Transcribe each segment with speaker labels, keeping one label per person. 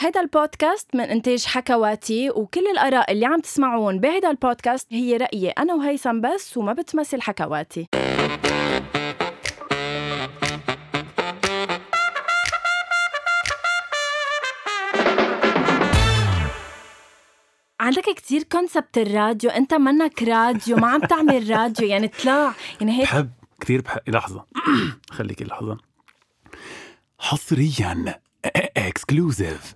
Speaker 1: هيدا البودكاست من إنتاج حكواتي وكل الآراء اللي عم تسمعون بهيدا البودكاست هي رأيي أنا وهيثم بس وما بتمثل حكواتي عندك كتير كونسبت الراديو انت منك راديو ما عم تعمل راديو يعني طلع يعني هيك
Speaker 2: بحب كثير بحب لحظة خليكي لحظة حصريا اكسكلوزيف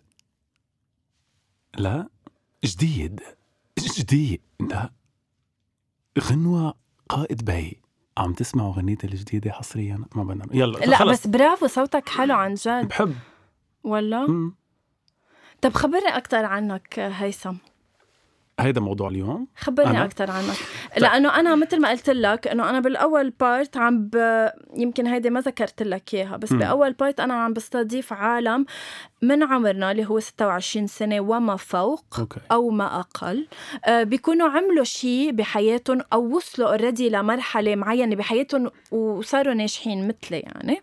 Speaker 2: لا جديد جديد لا غنوة قائد بي عم تسمعوا غنيتي الجديدة حصريا ما بدنا يلا
Speaker 1: لا
Speaker 2: خلص.
Speaker 1: بس برافو صوتك حلو عن جد
Speaker 2: بحب
Speaker 1: والله
Speaker 2: مم.
Speaker 1: طب خبرني اكثر عنك هيثم
Speaker 2: هيدا موضوع اليوم
Speaker 1: خبرني
Speaker 2: أنا؟ طيب.
Speaker 1: اكثر عنك لانه انا مثل ما قلت لك انه انا بالاول بارت عم ب... يمكن هيدي ما ذكرت لك اياها بس
Speaker 2: مم.
Speaker 1: باول بارت انا عم بستضيف عالم من عمرنا اللي هو 26 سنه وما فوق
Speaker 2: اوكي
Speaker 1: او ما اقل آه، بيكونوا عملوا شيء بحياتهم او وصلوا اوريدي لمرحله معينه بحياتهم وصاروا ناجحين مثلي يعني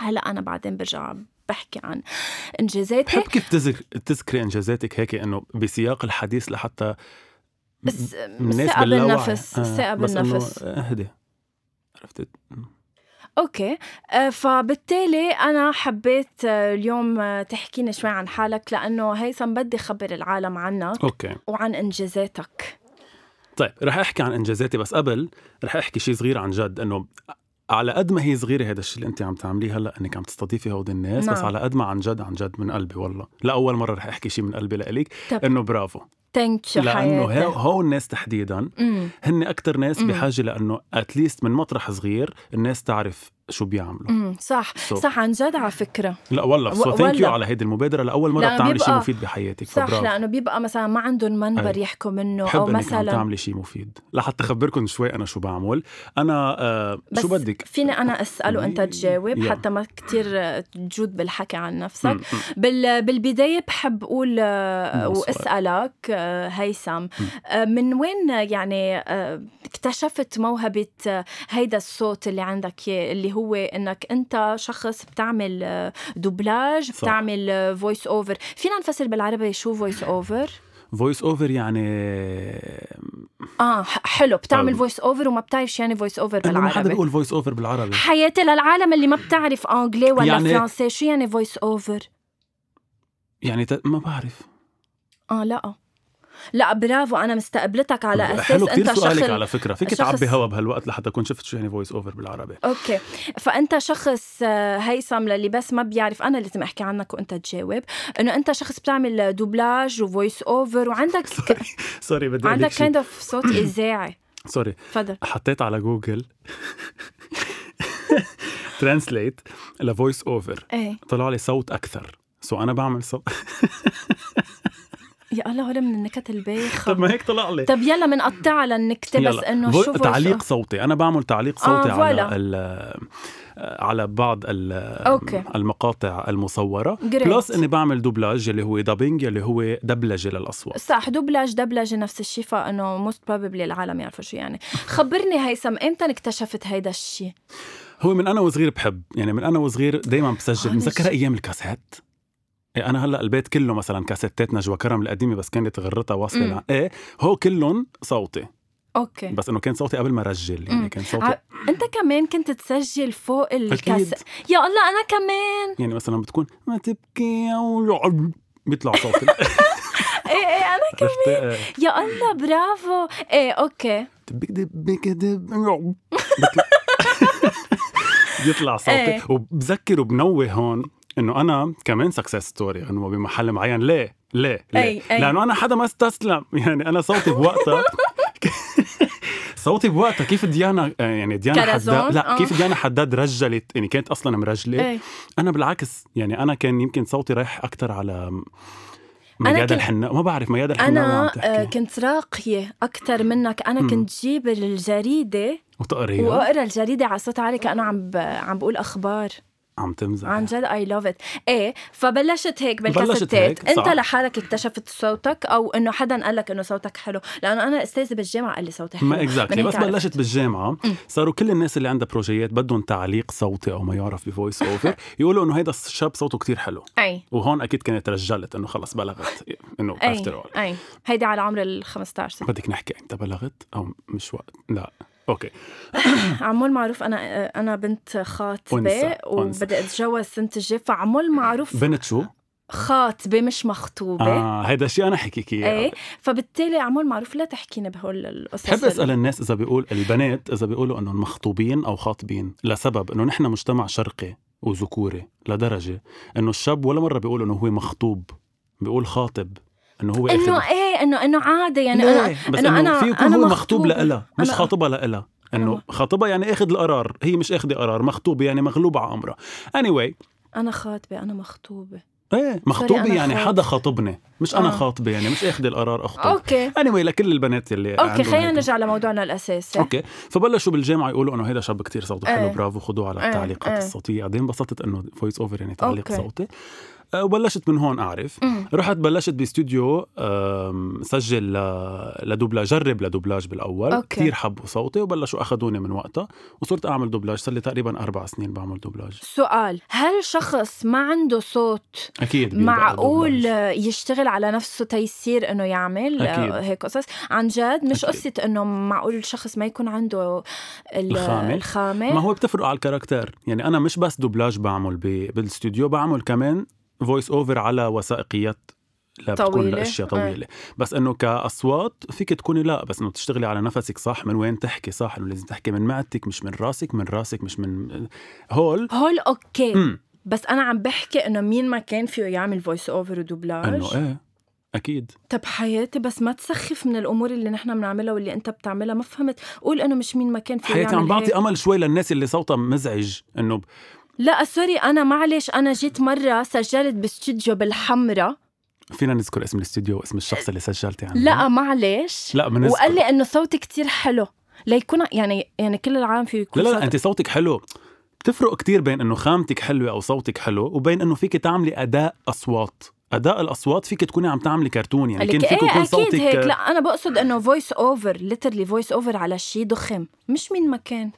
Speaker 1: هلا انا بعدين برجع بحكي عن انجازاتي
Speaker 2: بحب كيف تذك... تذكري انجازاتك هيك انه بسياق الحديث لحتى
Speaker 1: بس
Speaker 2: الناس
Speaker 1: الثقه
Speaker 2: باللاوعي.
Speaker 1: بالنفس
Speaker 2: آه،
Speaker 1: الثقه
Speaker 2: بس إنه
Speaker 1: بالنفس
Speaker 2: اهدي عرفت مم.
Speaker 1: اوكي آه، فبالتالي انا حبيت آه، اليوم آه، تحكينا شوي عن حالك لانه هيثم بدي خبر العالم عنك
Speaker 2: اوكي
Speaker 1: وعن انجازاتك
Speaker 2: طيب رح احكي عن انجازاتي بس قبل رح احكي شيء صغير عن جد انه على قد ما هي صغيره هذا الشيء اللي انت عم تعمليه هلا انك عم تستضيفي هودي الناس نعم. بس
Speaker 1: نعم.
Speaker 2: على قد ما عن جد عن جد من قلبي والله لاول مره رح احكي شيء من قلبي لإلك
Speaker 1: طب.
Speaker 2: انه برافو
Speaker 1: ثانك يو
Speaker 2: لانه هو-
Speaker 1: حياتي
Speaker 2: هو الناس تحديدا
Speaker 1: مم.
Speaker 2: هن اكثر ناس
Speaker 1: مم.
Speaker 2: بحاجه لانه اتليست من مطرح صغير الناس تعرف شو بيعملوا
Speaker 1: مم. صح
Speaker 2: So-
Speaker 1: صح عن جد على فكره
Speaker 2: لا والله سو
Speaker 1: و-
Speaker 2: ثانك يو
Speaker 1: والله.
Speaker 2: على هيدي المبادره لاول مره
Speaker 1: لأنه
Speaker 2: بتعملي شيء
Speaker 1: بيبقى-
Speaker 2: مفيد بحياتك
Speaker 1: صح
Speaker 2: فبرافو.
Speaker 1: لانه بيبقى مثلا ما عندهم منبر
Speaker 2: أي.
Speaker 1: يحكوا منه او
Speaker 2: بحب انك عم
Speaker 1: مثلا
Speaker 2: تعملي شيء مفيد لحتى اخبركم شوي انا شو بعمل انا آه
Speaker 1: بس
Speaker 2: شو بدك
Speaker 1: فيني انا اساله وانت تجاوب
Speaker 2: يلا.
Speaker 1: حتى ما كتير تجود بالحكي عن نفسك
Speaker 2: مم، مم.
Speaker 1: بال بالبدايه بحب اقول آه،
Speaker 2: نعم، سؤال.
Speaker 1: واسالك آه، هيثم آه، من وين آه، يعني آه، اكتشفت موهبه آه، هيدا الصوت اللي عندك إياه، اللي هو انك انت شخص بتعمل آه، دوبلاج
Speaker 2: صح.
Speaker 1: بتعمل فويس اوفر فينا نفسر بالعربي شو فويس اوفر
Speaker 2: فويس اوفر يعني
Speaker 1: اه ح- حلو بتعمل
Speaker 2: آه.
Speaker 1: فويس اوفر وما بتعرف شو يعني فويس اوفر
Speaker 2: إنه ما حدا
Speaker 1: بالعربي
Speaker 2: بيقول فويس اوفر بالعربي
Speaker 1: حياتي للعالم اللي ما بتعرف انجلي ولا يعني...
Speaker 2: يعني-
Speaker 1: فرنسي شو يعني فويس اوفر
Speaker 2: يعني ت... ما بعرف
Speaker 1: اه لا لا برافو انا مستقبلتك على اساس
Speaker 2: حلو كثير
Speaker 1: انت
Speaker 2: سؤالك
Speaker 1: شخص
Speaker 2: على فكره فيك
Speaker 1: شخص-
Speaker 2: تعبي هوا بهالوقت لحتى كون شفت شو يعني فويس اوفر بالعربي
Speaker 1: اوكي فانت شخص آه، هيثم للي بس ما بيعرف انا لازم احكي عنك وانت تجاوب انه انت شخص بتعمل دوبلاج وفويس اوفر وعندك
Speaker 2: طيب،
Speaker 1: ك...
Speaker 2: سوري بدي
Speaker 1: عندك
Speaker 2: عندك
Speaker 1: كايند اوف صوت اذاعي
Speaker 2: سوري
Speaker 1: تفضل
Speaker 2: حطيت على جوجل ترانسليت لفويس اوفر
Speaker 1: ايه
Speaker 2: طلع لي صوت اكثر سو انا بعمل صوت
Speaker 1: يا الله هول من النكت البايخه
Speaker 2: طب ما هيك طلع لي
Speaker 1: طب يلا منقطعها للنكته بس
Speaker 2: يلا.
Speaker 1: انه
Speaker 2: فو-
Speaker 1: شو voice
Speaker 2: تعليق
Speaker 1: over.
Speaker 2: صوتي انا بعمل
Speaker 1: آه،
Speaker 2: تعليق صوتي
Speaker 1: فوالا.
Speaker 2: على ال- على بعض ال-
Speaker 1: أوكي.
Speaker 2: المقاطع المصوره
Speaker 1: Great.
Speaker 2: بلس اني بعمل دوبلاج اللي هو دابينج اللي هو دبلجه للاصوات
Speaker 1: صح دبلج دبلجة نفس الشيء فانه موست بروبلي العالم يعرفوا شو يعني خبرني هيثم امتى انكتشفت هيدا الشيء
Speaker 2: هو من انا وصغير بحب يعني من انا وصغير دائما بسجل
Speaker 1: آه،
Speaker 2: مذكره
Speaker 1: مش-
Speaker 2: ايام الكاسات إيه، انا هلا البيت كله مثلا كاسيتات نجوى كرم القديمه بس كانت غرتها واصله
Speaker 1: مم.
Speaker 2: لع- ايه هو كلهم صوتي
Speaker 1: اوكي
Speaker 2: بس انه كان صوتي قبل ما رجل يعني
Speaker 1: مم.
Speaker 2: كان صوتي
Speaker 1: ع- انت كمان كنت تسجل فوق الكاس
Speaker 2: اكيد
Speaker 1: يا الله انا كمان
Speaker 2: يعني مثلا بتكون ما تبكي يا ولع بيطلع صوتي
Speaker 1: ايه ايه انا كمان
Speaker 2: عرفت؟ إيه.
Speaker 1: يا الله برافو ايه اوكي
Speaker 2: دبك دبك دب بطلع بيطلع صوتي
Speaker 1: إيه.
Speaker 2: وبذكر وبنوه هون انه انا كمان سكسس ستوري انه بمحل معين ليه ليه ليه
Speaker 1: أي- أي.
Speaker 2: لانه انا حدا ما استسلم يعني انا صوتي بوقتها صوتي بوقتها كيف ديانا آه، يعني ديانا
Speaker 1: كرزون؟
Speaker 2: حداد لا
Speaker 1: آه.
Speaker 2: كيف ديانا حداد رجلت يعني كانت اصلا مرجله
Speaker 1: ايه
Speaker 2: انا بالعكس يعني انا كان يمكن صوتي رايح اكثر على
Speaker 1: كنت-
Speaker 2: ميادة الحناء ما بعرف ميادة الحناء وعم
Speaker 1: انا آه،
Speaker 2: تحكي
Speaker 1: كنت راقيه اكثر منك انا
Speaker 2: مم. أيوه.
Speaker 1: كنت جيب الجريده
Speaker 2: وتقريها
Speaker 1: واقرا الجريده على صوت عالي كانه عم ب... عم بقول اخبار
Speaker 2: عم تمزح
Speaker 1: عن جد اي لاف ات ايه فبلشت هيك
Speaker 2: بلشت هيك،
Speaker 1: بالكاسيتات
Speaker 2: صح.
Speaker 1: انت لحالك اكتشفت صوتك او انه حدا قال لك انه صوتك حلو لانه انا استاذي بالجامعه قال لي صوتي حلو
Speaker 2: ما
Speaker 1: من
Speaker 2: اكزاكتلي
Speaker 1: هيك
Speaker 2: بس
Speaker 1: عرفت.
Speaker 2: بلشت بالجامعه صاروا كل الناس اللي عندها بروجيات بدهم تعليق صوتي او ما يعرف بفويس اوفر يقولوا انه هيدا الشاب صوته كتير حلو
Speaker 1: اي
Speaker 2: وهون اكيد كانت رجلت انه خلص بلغت انه
Speaker 1: اي
Speaker 2: افتر اول
Speaker 1: اي هيدي على عمر ال 15
Speaker 2: بدك نحكي امتى بلغت او مش وقت لا اوكي
Speaker 1: عمول معروف انا انا بنت خاطبه
Speaker 2: أنثى، أنثى.
Speaker 1: وبدي اتجوز سنه الجايه فعمول معروف
Speaker 2: بنت شو؟
Speaker 1: خاطبه مش مخطوبه
Speaker 2: اه هيدا الشيء انا حكيك اياه
Speaker 1: ايه فبالتالي عمول معروف لا تحكينا بهول القصص
Speaker 2: بحب
Speaker 1: ال-
Speaker 2: اسال الناس اذا بيقول البنات اذا بيقولوا انهم مخطوبين او خاطبين لسبب انه نحن مجتمع شرقي وذكوري لدرجه انه الشاب ولا مره بيقول انه هو مخطوب بيقول خاطب انه هو آخر
Speaker 1: انه ايه انه انه عادي يعني
Speaker 2: لا،
Speaker 1: انا
Speaker 2: بس انه انا في يكون
Speaker 1: أنا
Speaker 2: هو
Speaker 1: مخطوبة.
Speaker 2: مخطوب لإلها مش
Speaker 1: أنا-
Speaker 2: خاطبها لإلها انه
Speaker 1: أنا-
Speaker 2: خاطبها يعني اخذ القرار هي مش اخذ قرار مخطوبه يعني مغلوبه على امرها اني anyway,
Speaker 1: انا خاطبه انا مخطوبه
Speaker 2: ايه مخطوبه
Speaker 1: أنا
Speaker 2: يعني
Speaker 1: خاطب.
Speaker 2: حدا خاطبني مش انا
Speaker 1: آه.
Speaker 2: خاطبه يعني مش اخذ القرار اخطب
Speaker 1: اوكي
Speaker 2: اني anyway, لكل البنات اللي
Speaker 1: اوكي
Speaker 2: عندهم
Speaker 1: خلينا
Speaker 2: هيك-
Speaker 1: نرجع لموضوعنا الاساسي
Speaker 2: اوكي فبلشوا بالجامعه يقولوا انه هيدا شاب كتير صوته حلو
Speaker 1: إيه.
Speaker 2: برافو خدوه على
Speaker 1: إيه،
Speaker 2: التعليقات
Speaker 1: إيه.
Speaker 2: الصوتيه بعدين انبسطت انه فويس اوفر يعني تعليق
Speaker 1: أوكي.
Speaker 2: صوتي أه، وبلشت من هون اعرف
Speaker 1: أمم.
Speaker 2: رحت بلشت باستوديو أم، سجل ل- لدوبلاج جرب لدوبلاج بالاول
Speaker 1: أوكي.
Speaker 2: كثير حبوا صوتي وبلشوا اخذوني من وقتها وصرت اعمل دوبلاج صار لي تقريبا اربع سنين بعمل دوبلاج
Speaker 1: سؤال هل شخص ما عنده صوت
Speaker 2: اكيد بيلبق
Speaker 1: معقول
Speaker 2: دوبلاج.
Speaker 1: يشتغل على نفسه تيسير انه يعمل
Speaker 2: أكيد.
Speaker 1: آه، هيك قصص عن جد مش
Speaker 2: أكيد.
Speaker 1: قصه انه معقول شخص ما يكون عنده ال-
Speaker 2: الخامة.
Speaker 1: الخامه
Speaker 2: ما هو بتفرق على الكاركتر يعني انا مش بس دوبلاج بعمل ب- بالاستوديو بعمل كمان فويس اوفر على وثائقيات لا بتكون
Speaker 1: طويلة.
Speaker 2: لاشياء
Speaker 1: آه.
Speaker 2: طويله بس انه كاصوات فيك تكوني لا بس انه تشتغلي على نفسك صح من وين تحكي صح انه لازم تحكي من معدتك مش من راسك من راسك مش من آه، هول
Speaker 1: هول اوكي
Speaker 2: امم
Speaker 1: بس انا عم بحكي انه مين ما كان فيه يعمل فويس اوفر
Speaker 2: انه
Speaker 1: ودوبلاج
Speaker 2: ايه اكيد
Speaker 1: طب حياتي بس ما تسخف من الامور اللي نحن بنعملها واللي انت بتعملها ما فهمت قول انه مش مين ما كان فيه
Speaker 2: حياتي
Speaker 1: يعمل
Speaker 2: عم بعطي
Speaker 1: هيك.
Speaker 2: امل شوي للناس اللي صوتها مزعج انه ب-
Speaker 1: لا سوري انا معلش انا جيت مره سجلت باستوديو بالحمرة
Speaker 2: فينا نذكر اسم الاستوديو واسم الشخص اللي سجلتي عنه
Speaker 1: لا معلش
Speaker 2: لا بنذكر
Speaker 1: وقال لي انه صوتي كتير حلو ليكون يعني يعني كل العالم فيه
Speaker 2: لا
Speaker 1: يكون
Speaker 2: لا, لا
Speaker 1: صوت-
Speaker 2: انت صوتك حلو بتفرق كتير بين انه خامتك حلوه او صوتك حلو وبين انه فيك تعملي اداء اصوات اداء الاصوات فيك تكوني عم تعملي كرتون يعني
Speaker 1: قال
Speaker 2: كان
Speaker 1: لك
Speaker 2: فيك
Speaker 1: ايه
Speaker 2: يكون
Speaker 1: اكيد
Speaker 2: صوتك
Speaker 1: هيك لا انا بقصد انه فويس اوفر ليترلي فويس اوفر على شيء ضخم مش مين ما كان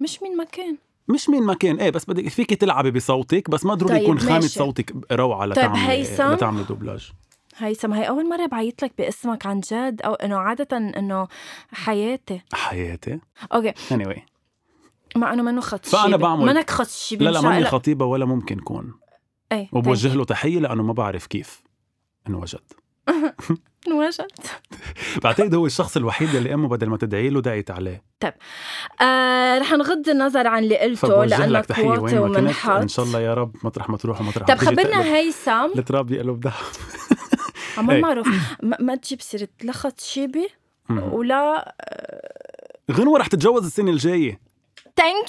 Speaker 1: مش مين ما كان
Speaker 2: مش مين ما كان ايه بس بدك فيك تلعبي بصوتك بس ما ضروري
Speaker 1: طيب،
Speaker 2: يكون خامه
Speaker 1: ماشي. طيب،
Speaker 2: صوتك روعه لتعملي
Speaker 1: هيثم؟
Speaker 2: لتعملي دوبلاج
Speaker 1: هيثم هي اول مره بعيط لك باسمك عن جد او انه عاده انه حياتي
Speaker 2: حياتي
Speaker 1: اوكي
Speaker 2: anyway.
Speaker 1: مع انه منه خط
Speaker 2: فأنا
Speaker 1: شيبة.
Speaker 2: بعمل-
Speaker 1: منك خط شيبة
Speaker 2: لا لا
Speaker 1: مش
Speaker 2: ماني
Speaker 1: عقلك.
Speaker 2: خطيبه ولا ممكن كون
Speaker 1: ايه
Speaker 2: وبوجه له تحيه لانه ما بعرف كيف انوجد
Speaker 1: طيب. انوجدت
Speaker 2: بعتقد هو الشخص الوحيد اللي امه بدل ما تدعي له دعيت عليه
Speaker 1: آه رح نغض النظر عن اللي قلته
Speaker 2: فبوجه لك
Speaker 1: لانك
Speaker 2: تحيه
Speaker 1: واطي
Speaker 2: وين ما كنت
Speaker 1: ومنحط
Speaker 2: ان شاء الله يا رب مطرح ما تروح ومطرح
Speaker 1: طب
Speaker 2: ما تيجي
Speaker 1: خبرنا
Speaker 2: تقلب.
Speaker 1: هيثم
Speaker 2: التراب يقلب ذهب إيه.
Speaker 1: عمر معروف ما ما تجيب سيرة لا خط شيبة ولا
Speaker 2: غنوة رح تتجوز السنة الجاية
Speaker 1: ثانك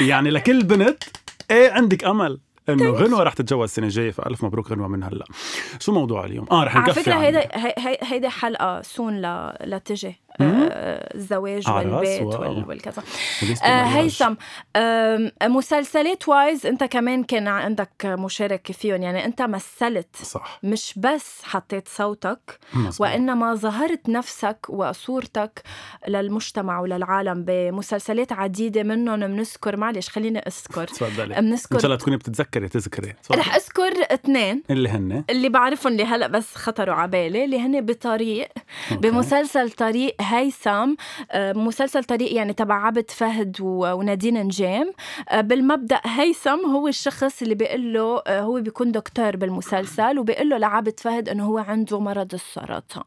Speaker 1: يو
Speaker 2: يعني لكل بنت ايه عندك امل
Speaker 1: طيب.
Speaker 2: انه غنوة رح تتجوز السنة الجاية فألف مبروك غنوة من هلا شو موضوع اليوم؟ اه رح
Speaker 1: على
Speaker 2: نكفي
Speaker 1: فكرة
Speaker 2: عن-
Speaker 1: هيدا هي- هي- هيدا حلقة سون ل... لتجي آه،
Speaker 2: مم.
Speaker 1: الزواج
Speaker 2: عرس،
Speaker 1: والبيت
Speaker 2: واو.
Speaker 1: وال... والكذا
Speaker 2: وليست
Speaker 1: آه،
Speaker 2: المرياج.
Speaker 1: هيثم آم، مسلسلات وايز انت كمان كان عندك مشاركة فيهم يعني انت مثلت
Speaker 2: صح
Speaker 1: مش بس حطيت صوتك
Speaker 2: مزبوط.
Speaker 1: وإنما ظهرت نفسك وصورتك للمجتمع وللعالم بمسلسلات عديدة منهم بنذكر معلش خليني أذكر
Speaker 2: تفضلي ان شاء
Speaker 1: بنذكر
Speaker 2: الله تكوني بتتذكري تذكري تفضلي.
Speaker 1: رح أذكر اثنين
Speaker 2: اللي هن
Speaker 1: اللي بعرفهم اللي هلا بس خطروا على بالي اللي هن بطريق
Speaker 2: أوكي.
Speaker 1: بمسلسل طريق هيثم آه، مسلسل طريق يعني تبع عبد فهد و- ونادين نجام آه، بالمبدا هيثم هو الشخص اللي بيقول له آه، هو بيكون دكتور بالمسلسل وبيقول له لعبد فهد انه هو عنده مرض السرطان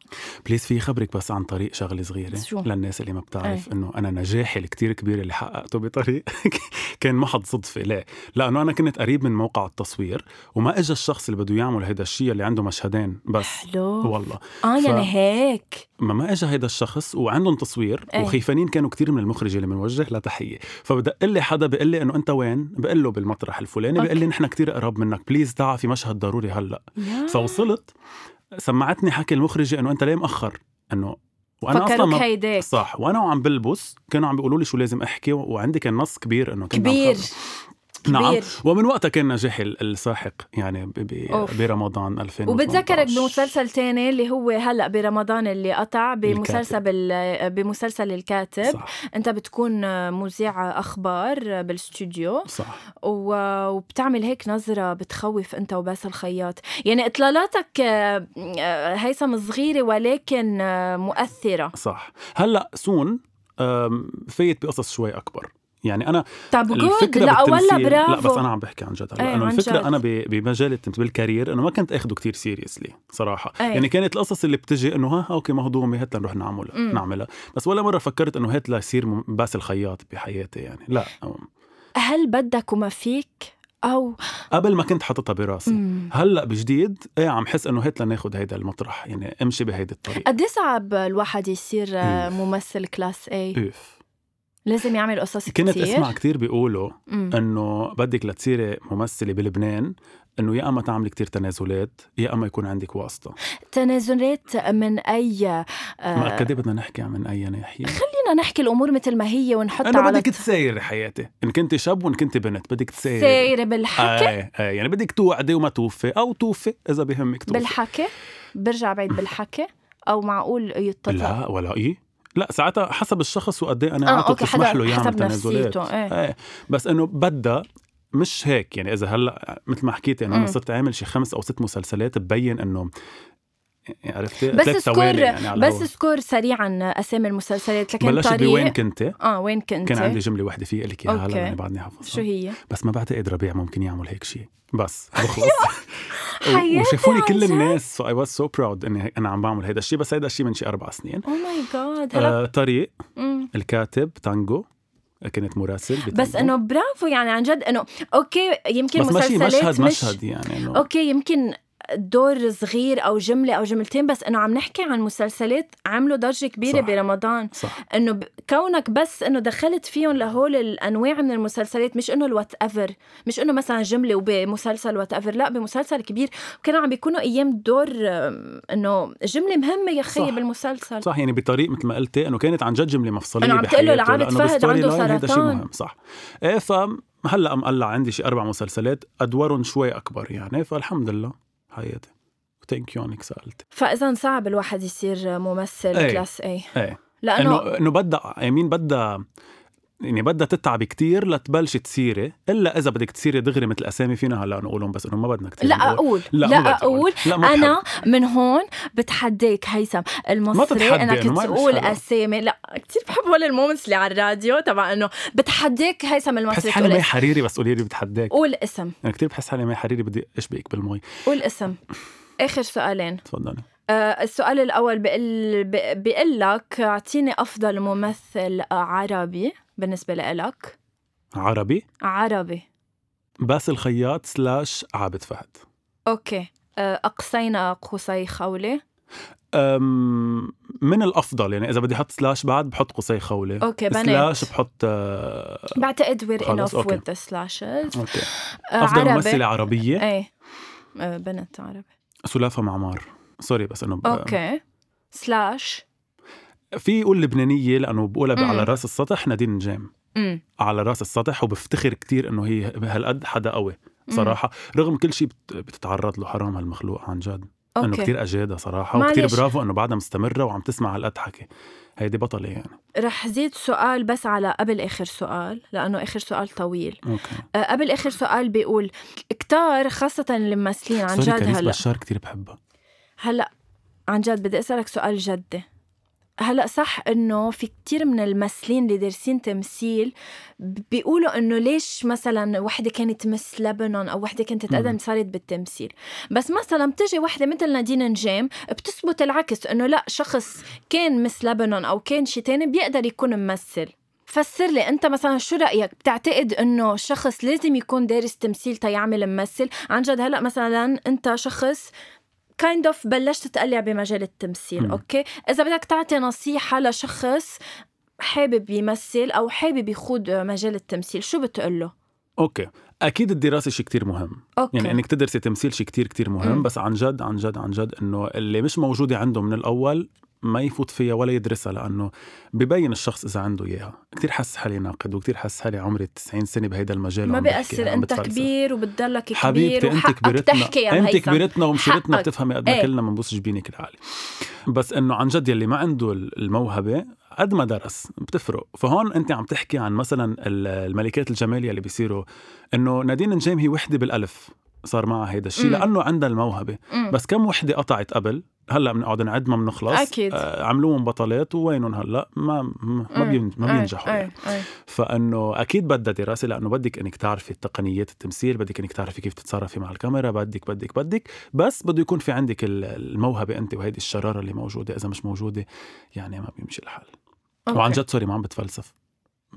Speaker 2: بليز في خبرك بس عن طريق شغله صغيره
Speaker 1: شو؟ إيه.
Speaker 2: للناس اللي ما بتعرف انه انا نجاحي الكتير كبير اللي حققته بطريق كان محض صدفه ليه؟ لانه انا كنت قريب من موقع التصوير وما اجى الشخص اللي بده يعمل هيدا الشيء اللي عنده مشهدين بس
Speaker 1: حلو
Speaker 2: والله
Speaker 1: اه
Speaker 2: ف-
Speaker 1: يعني هيك
Speaker 2: ما ما اجى هيدا الشخص وعندهم تصوير
Speaker 1: إيه.
Speaker 2: وخيفانين كانوا كتير من المخرج اللي بنوجه له تحيه فبدق لي حدا بيقول لي انه انت وين بقول له بالمطرح الفلاني بيقول لي
Speaker 1: أوكي.
Speaker 2: نحن كتير قرب منك بليز تعا في مشهد ضروري هلا
Speaker 1: يا.
Speaker 2: فوصلت
Speaker 1: آه.
Speaker 2: سمعتني حكي المخرجه انه انت ليه مأخر انه وانا اصلا
Speaker 1: فكروك
Speaker 2: ما
Speaker 1: هيداك
Speaker 2: صح وانا وعم بلبس كانوا عم بيقولوا لي شو لازم احكي و- وعندي كان نص كبير انه كنت عم
Speaker 1: كبير
Speaker 2: خبر.
Speaker 1: كبير
Speaker 2: نعم ومن وقتها كان نجاح ال- الساحق يعني ب- ب-
Speaker 1: أوف.
Speaker 2: برمضان 2018
Speaker 1: وبتذكرك بمسلسل تاني اللي هو هلا برمضان اللي قطع بمسلسل
Speaker 2: الكاتب.
Speaker 1: بال... بمسلسل الكاتب صح.
Speaker 2: صح
Speaker 1: انت بتكون مذيع اخبار بالاستوديو
Speaker 2: صح
Speaker 1: و- وبتعمل هيك نظرة بتخوف أنت وباس الخياط يعني إطلالاتك آه، آه، هيثم صغيرة ولكن آه، مؤثرة
Speaker 2: صح هلا سون أم، فايت بقصص شوي اكبر يعني انا
Speaker 1: طب جود
Speaker 2: الفكره
Speaker 1: لا ولا
Speaker 2: بالتمثيل
Speaker 1: برافو
Speaker 2: لا بس انا عم بحكي عن جد هلا
Speaker 1: إيه،
Speaker 2: انه
Speaker 1: عن
Speaker 2: الفكره
Speaker 1: جد.
Speaker 2: انا ب- بمجال التمثيل بالكارير انه ما كنت اخده كتير سيريسلي صراحه
Speaker 1: إيه.
Speaker 2: يعني كانت القصص اللي بتجي انه ها اوكي مهضومه هات لنروح نعملها
Speaker 1: مم.
Speaker 2: نعملها بس ولا مره فكرت انه هات ليصير م- باس الخياط بحياتي يعني لا أم،
Speaker 1: هل بدك وما فيك أو
Speaker 2: قبل ما كنت حاططها براسي
Speaker 1: مم.
Speaker 2: هلا بجديد ايه عم حس انه هات لناخد هيدا المطرح يعني امشي بهيدي الطريقه
Speaker 1: قد إيه صعب الواحد يصير
Speaker 2: إيه.
Speaker 1: آه، ممثل كلاس A
Speaker 2: اوف
Speaker 1: لازم يعمل قصص كتير
Speaker 2: إيه. كنت اسمع كتير بيقولوا
Speaker 1: مم.
Speaker 2: انه بدك لتصيري ممثله بلبنان انه يا اما تعملي كتير تنازلات يا اما يكون عندك واسطه
Speaker 1: تنازلات من أي آه،
Speaker 2: ما قد إيه بدنا نحكي عن اي ناحيه
Speaker 1: خلينا نحكي الأمور مثل ما هي ونحطها
Speaker 2: انا
Speaker 1: على
Speaker 2: بدك تسايري حياتي ان كنت شاب وان كنت بنت بدك تسايري
Speaker 1: سايرة بالحكي
Speaker 2: ايه ايه يعني بدك توعدي وما توفي او توفي اذا بهمك توفي
Speaker 1: بالحكي برجع بعيد بالحكي او معقول يتطلع
Speaker 2: لا ولا ايه لا ساعتها حسب الشخص وقد ايه
Speaker 1: اه
Speaker 2: قناعاته
Speaker 1: اوكي
Speaker 2: بتسمح
Speaker 1: حدا
Speaker 2: له يعمل
Speaker 1: حسب
Speaker 2: تنازلات
Speaker 1: نفسيته ايه
Speaker 2: ايه بس انه بدها مش هيك يعني اذا هلا مثل ما حكيت انه انا
Speaker 1: مم.
Speaker 2: صرت عامل شي خمس او ست مسلسلات تبين انه عرفتي
Speaker 1: بس
Speaker 2: تلات
Speaker 1: سكور
Speaker 2: ثواني يعني على
Speaker 1: بس
Speaker 2: الهوا.
Speaker 1: سكور سريعا اسامي المسلسلات لكن
Speaker 2: بلشت
Speaker 1: طريق
Speaker 2: بوين كنت
Speaker 1: اه وين كنت
Speaker 2: كان عندي جمله واحده فيها لك اياها
Speaker 1: أوكي.
Speaker 2: هلا انا بعدني
Speaker 1: شو
Speaker 2: حافظها
Speaker 1: هي؟
Speaker 2: بس ما بعتقد ربيع ممكن يعمل هيك شيء بس بخلص و-
Speaker 1: حياتي
Speaker 2: وشافوني
Speaker 1: عن
Speaker 2: كل
Speaker 1: أيوة، جد؟
Speaker 2: الناس سو اي واز سو براود اني انا عم بعمل هيدا الشيء بس هيدا الشيء من شي اربع سنين
Speaker 1: او ماي جاد Oh هلا
Speaker 2: آه طريق
Speaker 1: مم.
Speaker 2: الكاتب تانجو كنت مراسل بتانجو.
Speaker 1: بس انه برافو يعني عن جد انه اوكي يمكن
Speaker 2: بس ماشي
Speaker 1: مسلسلات
Speaker 2: مشهد
Speaker 1: مش
Speaker 2: مشهد يعني انه
Speaker 1: اوكي يمكن دور صغير او جمله او جملتين بس انه عم نحكي عن مسلسلات عملوا ضجه كبيره
Speaker 2: صح.
Speaker 1: برمضان
Speaker 2: صح
Speaker 1: انه ب- كونك بس انه دخلت فيهم لهول الانواع من المسلسلات مش انه الوات ايفر مش انه مثلا جمله وبمسلسل وات ايفر لا بمسلسل كبير كانوا عم بيكونوا ايام دور آم، انه جمله مهمه يا
Speaker 2: صح.
Speaker 1: خيي بالمسلسل
Speaker 2: صح يعني بطريق مثل ما قلتي انه كانت عن جد جمله مفصليه
Speaker 1: أنا عم تقول له
Speaker 2: بحياته،
Speaker 1: لعابد فهد
Speaker 2: لأنه بالستوري
Speaker 1: عنده
Speaker 2: لاين هيدا شيء
Speaker 1: سرطان.
Speaker 2: مهم صح ايه ف هلا مقلع عندي شي اربع مسلسلات ادوارهم شوي اكبر يعني فالحمد لله حياتي ثانك يو انك سالتي
Speaker 1: فاذا صعب الواحد يصير ممثل
Speaker 2: إيه.
Speaker 1: كلاس اي
Speaker 2: ايه
Speaker 1: لانه
Speaker 2: انه انه بدها يمين بدها يعني بدها تتعب كتير لتبلش تسيري الا اذا بدك تسيري دغري مثل اسامي فينا هلا نقولهم بس انه ما بدنا كتير
Speaker 1: لا
Speaker 2: نقول.
Speaker 1: اقول
Speaker 2: لا,
Speaker 1: لا,
Speaker 2: ما بدي
Speaker 1: اقول
Speaker 2: لا ما بحب.
Speaker 1: انا من هون بتحديك هيثم المصري
Speaker 2: تتحدى،
Speaker 1: انا
Speaker 2: أنا
Speaker 1: كنت
Speaker 2: ما مش
Speaker 1: اقول
Speaker 2: حدا.
Speaker 1: اسامي لا كثير بحب هول المومنتس اللي على الراديو تبع انه بتحديك هيثم
Speaker 2: بحس
Speaker 1: المصري
Speaker 2: حالي
Speaker 1: تقول
Speaker 2: مي
Speaker 1: اسم.
Speaker 2: حريري بس قولي لي بتحداك
Speaker 1: قول اسم
Speaker 2: انا كتير بحس حالي مي حريري بدي اشبكك بالمي
Speaker 1: قول اسم اخر سؤالين
Speaker 2: تفضلي
Speaker 1: آه السؤال الاول بقل ب- بقل لك اعطيني افضل ممثل آه، عربي بالنسبه لإلك
Speaker 2: عربي
Speaker 1: عربي
Speaker 2: بس الخياط سلاش عابد فهد
Speaker 1: اوكي آه اقصينا قصي خولي
Speaker 2: أم من الافضل يعني اذا بدي احط سلاش بعد بحط قصي خولي
Speaker 1: اوكي بنات
Speaker 2: سلاش بحط آه،
Speaker 1: بعتقد we're
Speaker 2: خلص،
Speaker 1: enough
Speaker 2: أوكي.
Speaker 1: with the slashes
Speaker 2: اوكي
Speaker 1: آه
Speaker 2: افضل
Speaker 1: عربي
Speaker 2: ممثله عربيه
Speaker 1: ايه آه بنت عربي
Speaker 2: سلافه معمار سوري بس آه، انه ب-
Speaker 1: اوكي سلاش
Speaker 2: في يقول لبنانيه لانه بقولها
Speaker 1: مم.
Speaker 2: على راس السطح نادين نجام
Speaker 1: امم
Speaker 2: على راس السطح وبفتخر كتير انه هي هالقد حدا قوي
Speaker 1: مم.
Speaker 2: صراحه رغم كل شيء بت- بتتعرض له حرام هالمخلوق عن جد انه
Speaker 1: اوكي
Speaker 2: كتير اجاده صراحه
Speaker 1: معلش.
Speaker 2: وكتير برافو انه بعدها مستمره وعم تسمع هالقد حكي هيدي بطله يعني
Speaker 1: رح زيد سؤال بس على قبل اخر سؤال لانه اخر سؤال طويل
Speaker 2: اوكي
Speaker 1: آه، قبل اخر سؤال بيقول كتار خاصة الممثلين عن
Speaker 2: سوري
Speaker 1: جد
Speaker 2: كريس
Speaker 1: هلا
Speaker 2: بشار كتير بحبها
Speaker 1: هلا عن جد بدي اسألك سؤال جدي هلا صح انه في كتير من الممثلين اللي دارسين تمثيل ب- بيقولوا انه ليش مثلا وحده كانت مس لبنان او وحده كانت تقدم
Speaker 2: مم.
Speaker 1: صارت بالتمثيل بس مثلا بتجي وحده مثل نادين نجام بتثبت العكس انه لا شخص كان مس لبنان او كان شي تاني بيقدر يكون ممثل فسر لي انت مثلا شو رايك بتعتقد انه شخص لازم يكون دارس تمثيل تيعمل ممثل عن جد هلا مثلا انت شخص كايند اوف بلشت تقلع بمجال التمثيل
Speaker 2: مم.
Speaker 1: اوكي اذا بدك تعطي نصيحه لشخص حابب يمثل او حابب يخوض مجال التمثيل شو بتقول له
Speaker 2: اوكي اكيد الدراسه شيء كتير مهم
Speaker 1: اوكي
Speaker 2: يعني انك تدرسي تمثيل شيء كتير كتير مهم
Speaker 1: مم.
Speaker 2: بس عن جد عن جد عن جد انه اللي مش موجوده عنده من الاول ما يفوت فيها ولا يدرسها لانه ببين الشخص اذا عنده اياها كثير حس حالي ناقد وكثير حس حالي عمري 90 سنه بهيدا المجال
Speaker 1: ما
Speaker 2: وعم بحكي،
Speaker 1: بيأثر
Speaker 2: عم
Speaker 1: انت
Speaker 2: بتفلسف.
Speaker 1: كبير وبتضلك كبير
Speaker 2: حبيبتي انت
Speaker 1: وحقك
Speaker 2: كبرتنا
Speaker 1: تحكي يا
Speaker 2: انت
Speaker 1: مهيثم.
Speaker 2: كبرتنا ومشيرتنا
Speaker 1: حقك.
Speaker 2: بتفهمي قد ما
Speaker 1: إيه.
Speaker 2: كلنا بنبوس جبينك العالي بس انه عن جد يلي ما عنده الموهبه قد ما درس بتفرق فهون انت عم تحكي عن مثلا ال- الملكات الجمال يلي بيصيروا انه نادين نجام هي وحده بالالف صار معها هيدا الشيء
Speaker 1: مم.
Speaker 2: لانه عندها الموهبه
Speaker 1: مم.
Speaker 2: بس كم وحده قطعت قبل هلا بنقعد نعد ما بنخلص
Speaker 1: أكيد.
Speaker 2: آه عملوهم بطلات ووينهم هلا ما ما, ما,
Speaker 1: مم.
Speaker 2: بين- ما
Speaker 1: إيه،
Speaker 2: بينجحوا
Speaker 1: إيه،
Speaker 2: يعني.
Speaker 1: إيه.
Speaker 2: فانه اكيد بدها دراسه لانه بدك انك تعرفي تقنيات التمثيل بدك انك تعرفي كيف تتصرفي مع الكاميرا بدك بدك بدك بس بده يكون في عندك ال- الموهبه انت وهيدي الشراره اللي موجوده اذا مش موجوده يعني ما بيمشي الحال
Speaker 1: أوكي.
Speaker 2: وعن جد سوري ما عم بتفلسف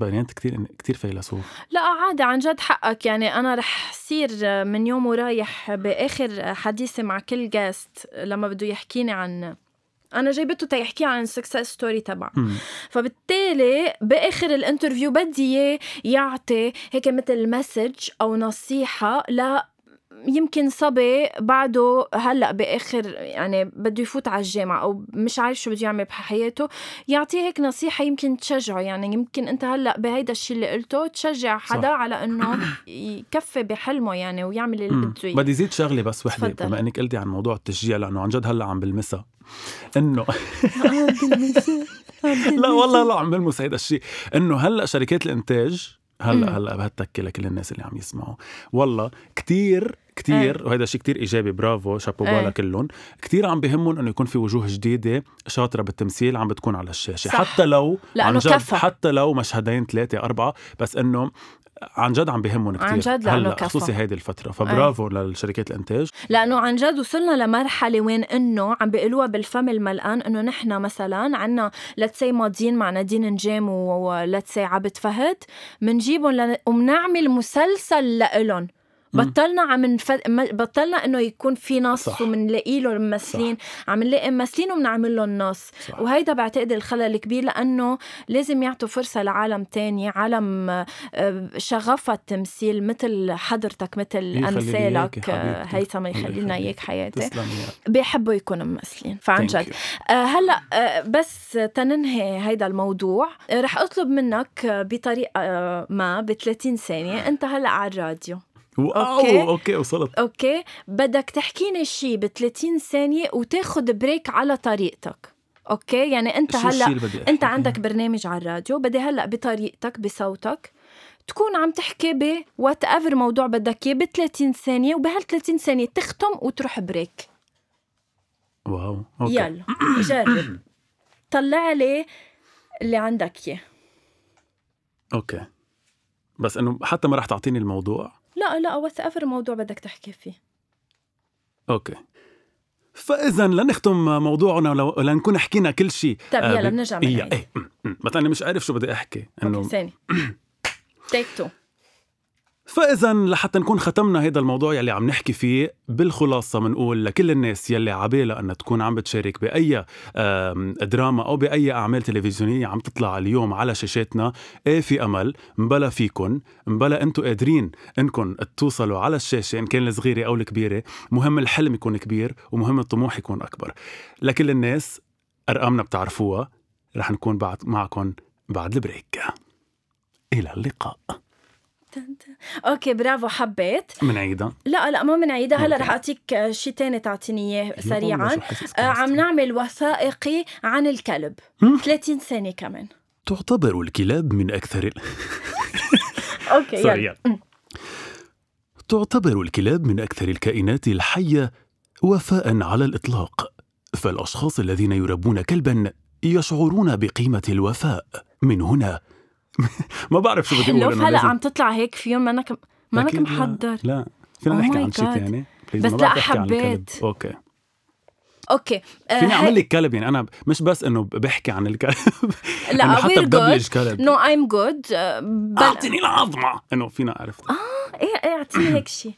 Speaker 2: بنات كثير كثير فيلسوف
Speaker 1: لا عادي عن جد حقك يعني انا رح صير من يوم ورايح باخر حديثي مع كل جاست لما بده يحكيني عن انا جايبته تيحكي عن السكسس ستوري تبعه
Speaker 2: مم.
Speaker 1: فبالتالي باخر الانترفيو بدي اياه يعطي هيك مثل مسج او نصيحه ل يمكن صبي بعده هلا باخر يعني بده يفوت على الجامعه او مش عارف شو بده يعمل بحياته يعطيه هيك نصيحه يمكن تشجعه يعني يمكن انت هلا بهيدا الشيء اللي قلته تشجع حدا
Speaker 2: صح.
Speaker 1: صح. على انه يكفي بحلمه يعني ويعمل اللي
Speaker 2: مم.
Speaker 1: بده اياه
Speaker 2: بدي زيد شغله بس وحده
Speaker 1: تفضل.
Speaker 2: بما انك قلتي عن موضوع التشجيع لانه عن جد هلا عم بلمسها انه لا والله لا عم بلمس هيدا الشيء انه هلا شركات الانتاج
Speaker 1: مم.
Speaker 2: هلا هلا بهالتكه لكل الناس اللي عم يسمعوا والله كتير كتير وهيدا شيء كتير ايجابي برافو شابو
Speaker 1: إيه.
Speaker 2: بالا كلهم كتير عم بهمهم انه يكون في وجوه جديده شاطره بالتمثيل عم بتكون على الشاشه
Speaker 1: صح.
Speaker 2: حتى لو
Speaker 1: لأنه
Speaker 2: عن جد
Speaker 1: كفى.
Speaker 2: حتى لو مشهدين ثلاثه اربعه بس انه عن جد عم بهمهم كتير
Speaker 1: عن جد لأنه
Speaker 2: هلا
Speaker 1: كفى. إيه.
Speaker 2: خصوصي هيدي الفتره فبرافو لشركات الانتاج
Speaker 1: لانه عن جد وصلنا لمرحله وين انه عم بيقولوها بالفم الملقان انه نحن مثلا عنا لتسي ماضيين مع نادين نجام ولتسي عبد فهد منجيبهم لن... ومنعمل مسلسل لإلن
Speaker 2: مم.
Speaker 1: بطلنا عم نف... ما- بطلنا انه يكون في نص
Speaker 2: صح.
Speaker 1: ومنلاقي له ممثلين عم نلاقي ممثلين ومنعمل لهم نص
Speaker 2: صح.
Speaker 1: وهيدا بعتقد الخلل الكبير لانه لازم يعطوا فرصه لعالم تاني عالم آه، شغفها التمثيل مثل حضرتك مثل
Speaker 2: يخلي لي إياك
Speaker 1: امثالك
Speaker 2: يا
Speaker 1: آه،
Speaker 2: حبيبتي.
Speaker 1: هيثم يخلي لنا
Speaker 2: يخليك.
Speaker 1: اياك حياتي
Speaker 2: تسلم يا
Speaker 1: بيحبوا يكونوا ممثلين فعن
Speaker 2: Thank
Speaker 1: جد
Speaker 2: you.
Speaker 1: آه، هلا آه، بس تننهي هيدا الموضوع آه، رح اطلب منك آه، بطريقه آه، ما ب 30
Speaker 2: آه.
Speaker 1: ثانيه انت هلا على الراديو
Speaker 2: اوكي
Speaker 1: أوكي.
Speaker 2: اوكي وصلت
Speaker 1: اوكي بدك تحكيني شيء ب 30 ثانيه وتاخد بريك على طريقتك اوكي يعني انت
Speaker 2: شو الشي
Speaker 1: هلا
Speaker 2: اللي بدي أحكي
Speaker 1: انت
Speaker 2: فيه؟
Speaker 1: عندك برنامج على الراديو بدي هلا بطريقتك بصوتك تكون عم تحكي ب وات ايفر موضوع بدك اياه ب 30 ثانيه وبهال 30 ثانيه تختم وتروح بريك
Speaker 2: واو
Speaker 1: أوكي.
Speaker 2: اوكي
Speaker 1: يلا جرب طلع لي اللي عندك اياه
Speaker 2: اوكي بس انه حتى ما راح تعطيني الموضوع
Speaker 1: لا لا وات ايفر موضوع بدك تحكي فيه
Speaker 2: اوكي فاذا لنختم موضوعنا ولو- لنكون حكينا كل شيء
Speaker 1: طب
Speaker 2: آه،
Speaker 1: طيب، يلا
Speaker 2: ب-
Speaker 1: بنرجع
Speaker 2: إيه،
Speaker 1: بنعيد.
Speaker 2: إيه، أم، أم. بس انا مش عارف شو بدي احكي
Speaker 1: اوكي
Speaker 2: انه
Speaker 1: ثاني تيك تو
Speaker 2: فاذا لحتى نكون ختمنا هذا الموضوع يلي عم نحكي فيه بالخلاصه بنقول لكل الناس يلي عبالها انها تكون عم بتشارك باي آم، دراما او باي اعمال تلفزيونيه عم تطلع اليوم على شاشاتنا ايه في امل مبلا فيكن مبلا انتم قادرين انكم توصلوا على الشاشه ان كان الصغيره او الكبيره مهم الحلم يكون كبير ومهم الطموح يكون اكبر لكل الناس ارقامنا بتعرفوها رح نكون بعد معكم بعد البريك الى اللقاء
Speaker 1: تن- تن. اوكي برافو حبيت
Speaker 2: من عيدا
Speaker 1: لا لا ما بنعيدها هلا
Speaker 2: أوكي.
Speaker 1: رح اعطيك آه، شي تاني تعطيني اياه
Speaker 2: يا الله،
Speaker 1: سريعا
Speaker 2: شو حاسس
Speaker 1: آه، عم
Speaker 2: كنت.
Speaker 1: نعمل وثائقي عن الكلب
Speaker 2: مم.
Speaker 1: 30 ثانية كمان
Speaker 2: تعتبر الكلاب من أكثر
Speaker 1: اوكي
Speaker 2: سوري
Speaker 1: يلا
Speaker 2: يعني. تعتبر الكلاب من أكثر الكائنات الحية وفاء على الإطلاق فالأشخاص الذين يربون كلبا يشعرون بقيمة الوفاء من هنا ما بعرف شو بدي أقول
Speaker 1: حلو
Speaker 2: أنا
Speaker 1: هلا
Speaker 2: لازم-
Speaker 1: عم تطلع هيك فيهم ما انك ما انك
Speaker 2: أكيد لا،
Speaker 1: محضر
Speaker 2: لا فينا
Speaker 1: Oh
Speaker 2: نحكي
Speaker 1: my
Speaker 2: عن شيء
Speaker 1: God.
Speaker 2: ثاني
Speaker 1: بس لا، حبيت.
Speaker 2: اوكي
Speaker 1: اوكي آه،
Speaker 2: فيني
Speaker 1: هي-
Speaker 2: اعمل لك كلب يعني انا مش بس انه بحكي عن الكلب
Speaker 1: لا،
Speaker 2: انه حتى
Speaker 1: we're good.
Speaker 2: بدبلج كلب
Speaker 1: نو ايم جود آه، بل
Speaker 2: اعطيني العظمه انه فينا عرفت
Speaker 1: ايه إيه، اعطيني هيك شيء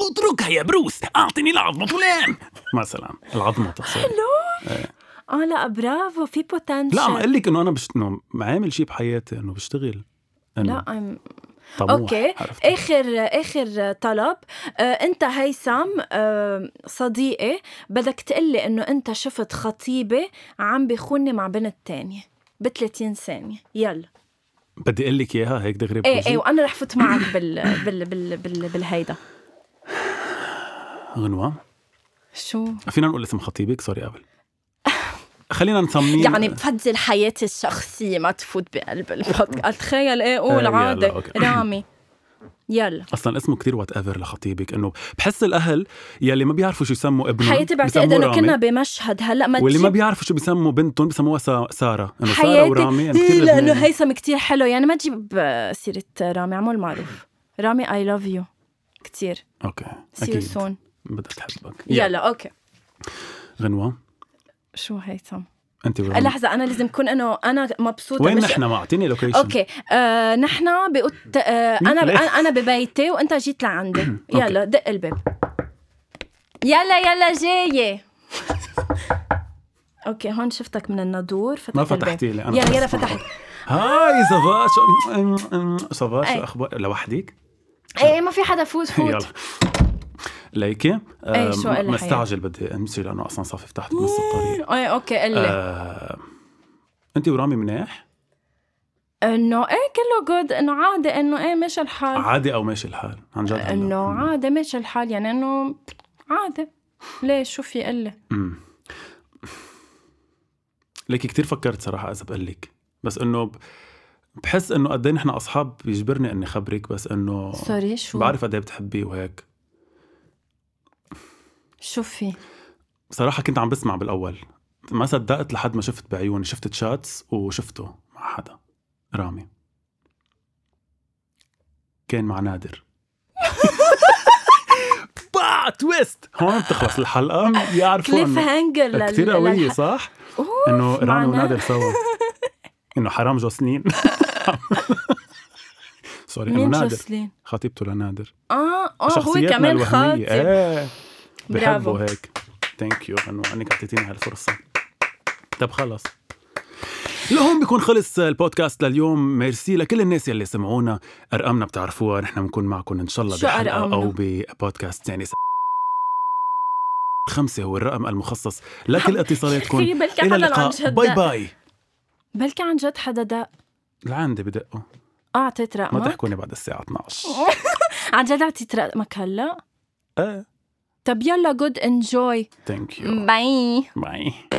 Speaker 2: اتركها يا بروس اعطني العظمة فلان مثلا العظمة تصير
Speaker 1: اه لا برافو في بوتنشل
Speaker 2: لا عم اقول لك انه انا بش... انه عامل شيء بحياتي انه بشتغل انه
Speaker 1: لا إيه، I'm-
Speaker 2: طموح
Speaker 1: اوكي
Speaker 2: عرفت.
Speaker 1: اخر اخر طلب آه، انت هيثم آه، صديقي بدك تقلي انه انت شفت خطيبه عم بيخوني مع بنت تانية ب 30 ثانية يلا
Speaker 2: بدي اقول لك اياها هيك دغري
Speaker 1: ايه
Speaker 2: بوجهي.
Speaker 1: ايه وانا رح فوت معك بال بال بال, بال بالهيدا
Speaker 2: غنوه
Speaker 1: شو
Speaker 2: فينا نقول اسم خطيبك سوري قبل خلينا نصمم
Speaker 1: يعني بفضل حياتي الشخصية ما تفوت بقلب البودكاست تخيل ايه
Speaker 2: إيه،
Speaker 1: قول
Speaker 2: يلا،
Speaker 1: عادي
Speaker 2: أوكي.
Speaker 1: رامي يلا
Speaker 2: اصلا اسمه كتير وات ايفر لخطيبك انه بحس الاهل يلي ما بيعرفوا شو يسموا ابنهم
Speaker 1: حياتي بعتقد
Speaker 2: بيسموه
Speaker 1: انه
Speaker 2: رامي.
Speaker 1: كنا بمشهد هلا ما
Speaker 2: واللي ما
Speaker 1: تجيب
Speaker 2: بيعرفوا شو بيسموا بنتهم بيسموها سا- ساره انه ساره
Speaker 1: حياتي
Speaker 2: ورامي إنه
Speaker 1: إيه،
Speaker 2: كتير
Speaker 1: لانه
Speaker 2: لبناني.
Speaker 1: هيثم كتير حلو يعني ما تجيب آه، سيرة رامي عمول معروف رامي اي لاف يو كتير
Speaker 2: اوكي
Speaker 1: سي يو
Speaker 2: اكيد
Speaker 1: سون
Speaker 2: بدها تحبك يلا
Speaker 1: يلا اوكي
Speaker 2: غنوه
Speaker 1: شو هيثم
Speaker 2: انت ورامي
Speaker 1: لحظة انا لازم كون انه انا مبسوطة
Speaker 2: وين
Speaker 1: مش
Speaker 2: نحن ما اعطيني لوكيشن
Speaker 1: اوكي آه، نحن بقلت آه، انا
Speaker 2: ليه؟
Speaker 1: انا ببيتي وانت جيت لعندي
Speaker 2: أوكي.
Speaker 1: يلا دق الباب يلا يلا جاية اوكي هون شفتك من النادور فتحت
Speaker 2: ما
Speaker 1: الباب.
Speaker 2: فتحتي لي انا
Speaker 1: يلا يلا
Speaker 2: بس-
Speaker 1: فتحت
Speaker 2: هاي صفاء شو أم- أم- صفاء شو
Speaker 1: أي.
Speaker 2: اخبار لوحدك
Speaker 1: ايه ما في حدا فوت
Speaker 2: يلا
Speaker 1: فوت
Speaker 2: ليكي
Speaker 1: أي،
Speaker 2: آه،
Speaker 1: شو
Speaker 2: ما-
Speaker 1: قال
Speaker 2: ما
Speaker 1: الحياة؟
Speaker 2: استعجل بدي امشي لانه اصلا صافي فتحت بنص الطريق
Speaker 1: ايه اوكي قلي
Speaker 2: طيب. آه، انت ورامي مناح
Speaker 1: انه ايه كله جود انه عادي انه ايه ماشي الحال
Speaker 2: عادي او ماشي الحال عن جد هلا.
Speaker 1: انه عادي ماشي الحال يعني انه عادي ليش شو في قلة
Speaker 2: أمم. ليكي كتير فكرت صراحه اذا بقول لك بس انه ب- بحس انه قد ايه نحن اصحاب بيجبرني اني خبرك بس انه
Speaker 1: سوري شو
Speaker 2: بعرف قد ايه بتحبيه وهيك
Speaker 1: شو في
Speaker 2: صراحه كنت عم بسمع بالاول ما صدقت لحد ما شفت بعيوني شفت تشاتس وشفته مع حدا رامي كان مع نادر با تويست هون بتخلص الحلقه يعرفوا
Speaker 1: كليف
Speaker 2: انه
Speaker 1: هانجر لل-
Speaker 2: كثير قويه
Speaker 1: للح-
Speaker 2: صح؟
Speaker 1: أوف،
Speaker 2: انه رامي
Speaker 1: معناها.
Speaker 2: ونادر سوا انه حرام جوسلين سوري انه
Speaker 1: مين
Speaker 2: نادر
Speaker 1: جوسلين؟
Speaker 2: خطيبته لنادر
Speaker 1: اه اه هو
Speaker 2: شخصيتنا
Speaker 1: كمان
Speaker 2: الوهمية.
Speaker 1: خاطب
Speaker 2: ايه
Speaker 1: برافو.
Speaker 2: بحبه هيك ثانك يو انه انك اعطيتيني هالفرصه طب خلص لهون بيكون خلص البودكاست لليوم ميرسي لكل الناس يلي سمعونا ارقامنا بتعرفوها نحن بنكون معكم ان شاء الله
Speaker 1: شو
Speaker 2: بحلقه
Speaker 1: أرقامنا؟
Speaker 2: او ببودكاست ثاني خمسة هو الرقم المخصص لكل اتصالاتكم
Speaker 1: في بلكي حدا
Speaker 2: الى
Speaker 1: عن
Speaker 2: اللقاء
Speaker 1: جد
Speaker 2: باي
Speaker 1: دق.
Speaker 2: باي
Speaker 1: بلكي عن جد حدا دق
Speaker 2: لعندي بدقوا
Speaker 1: اه اعطيت
Speaker 2: ما
Speaker 1: رقمك
Speaker 2: تحكوني بعد الساعة 12
Speaker 1: عن جد اعطيت رقمك هلا
Speaker 2: ايه
Speaker 1: طب يلا جود انجوي
Speaker 2: ثانك يو
Speaker 1: باي
Speaker 2: باي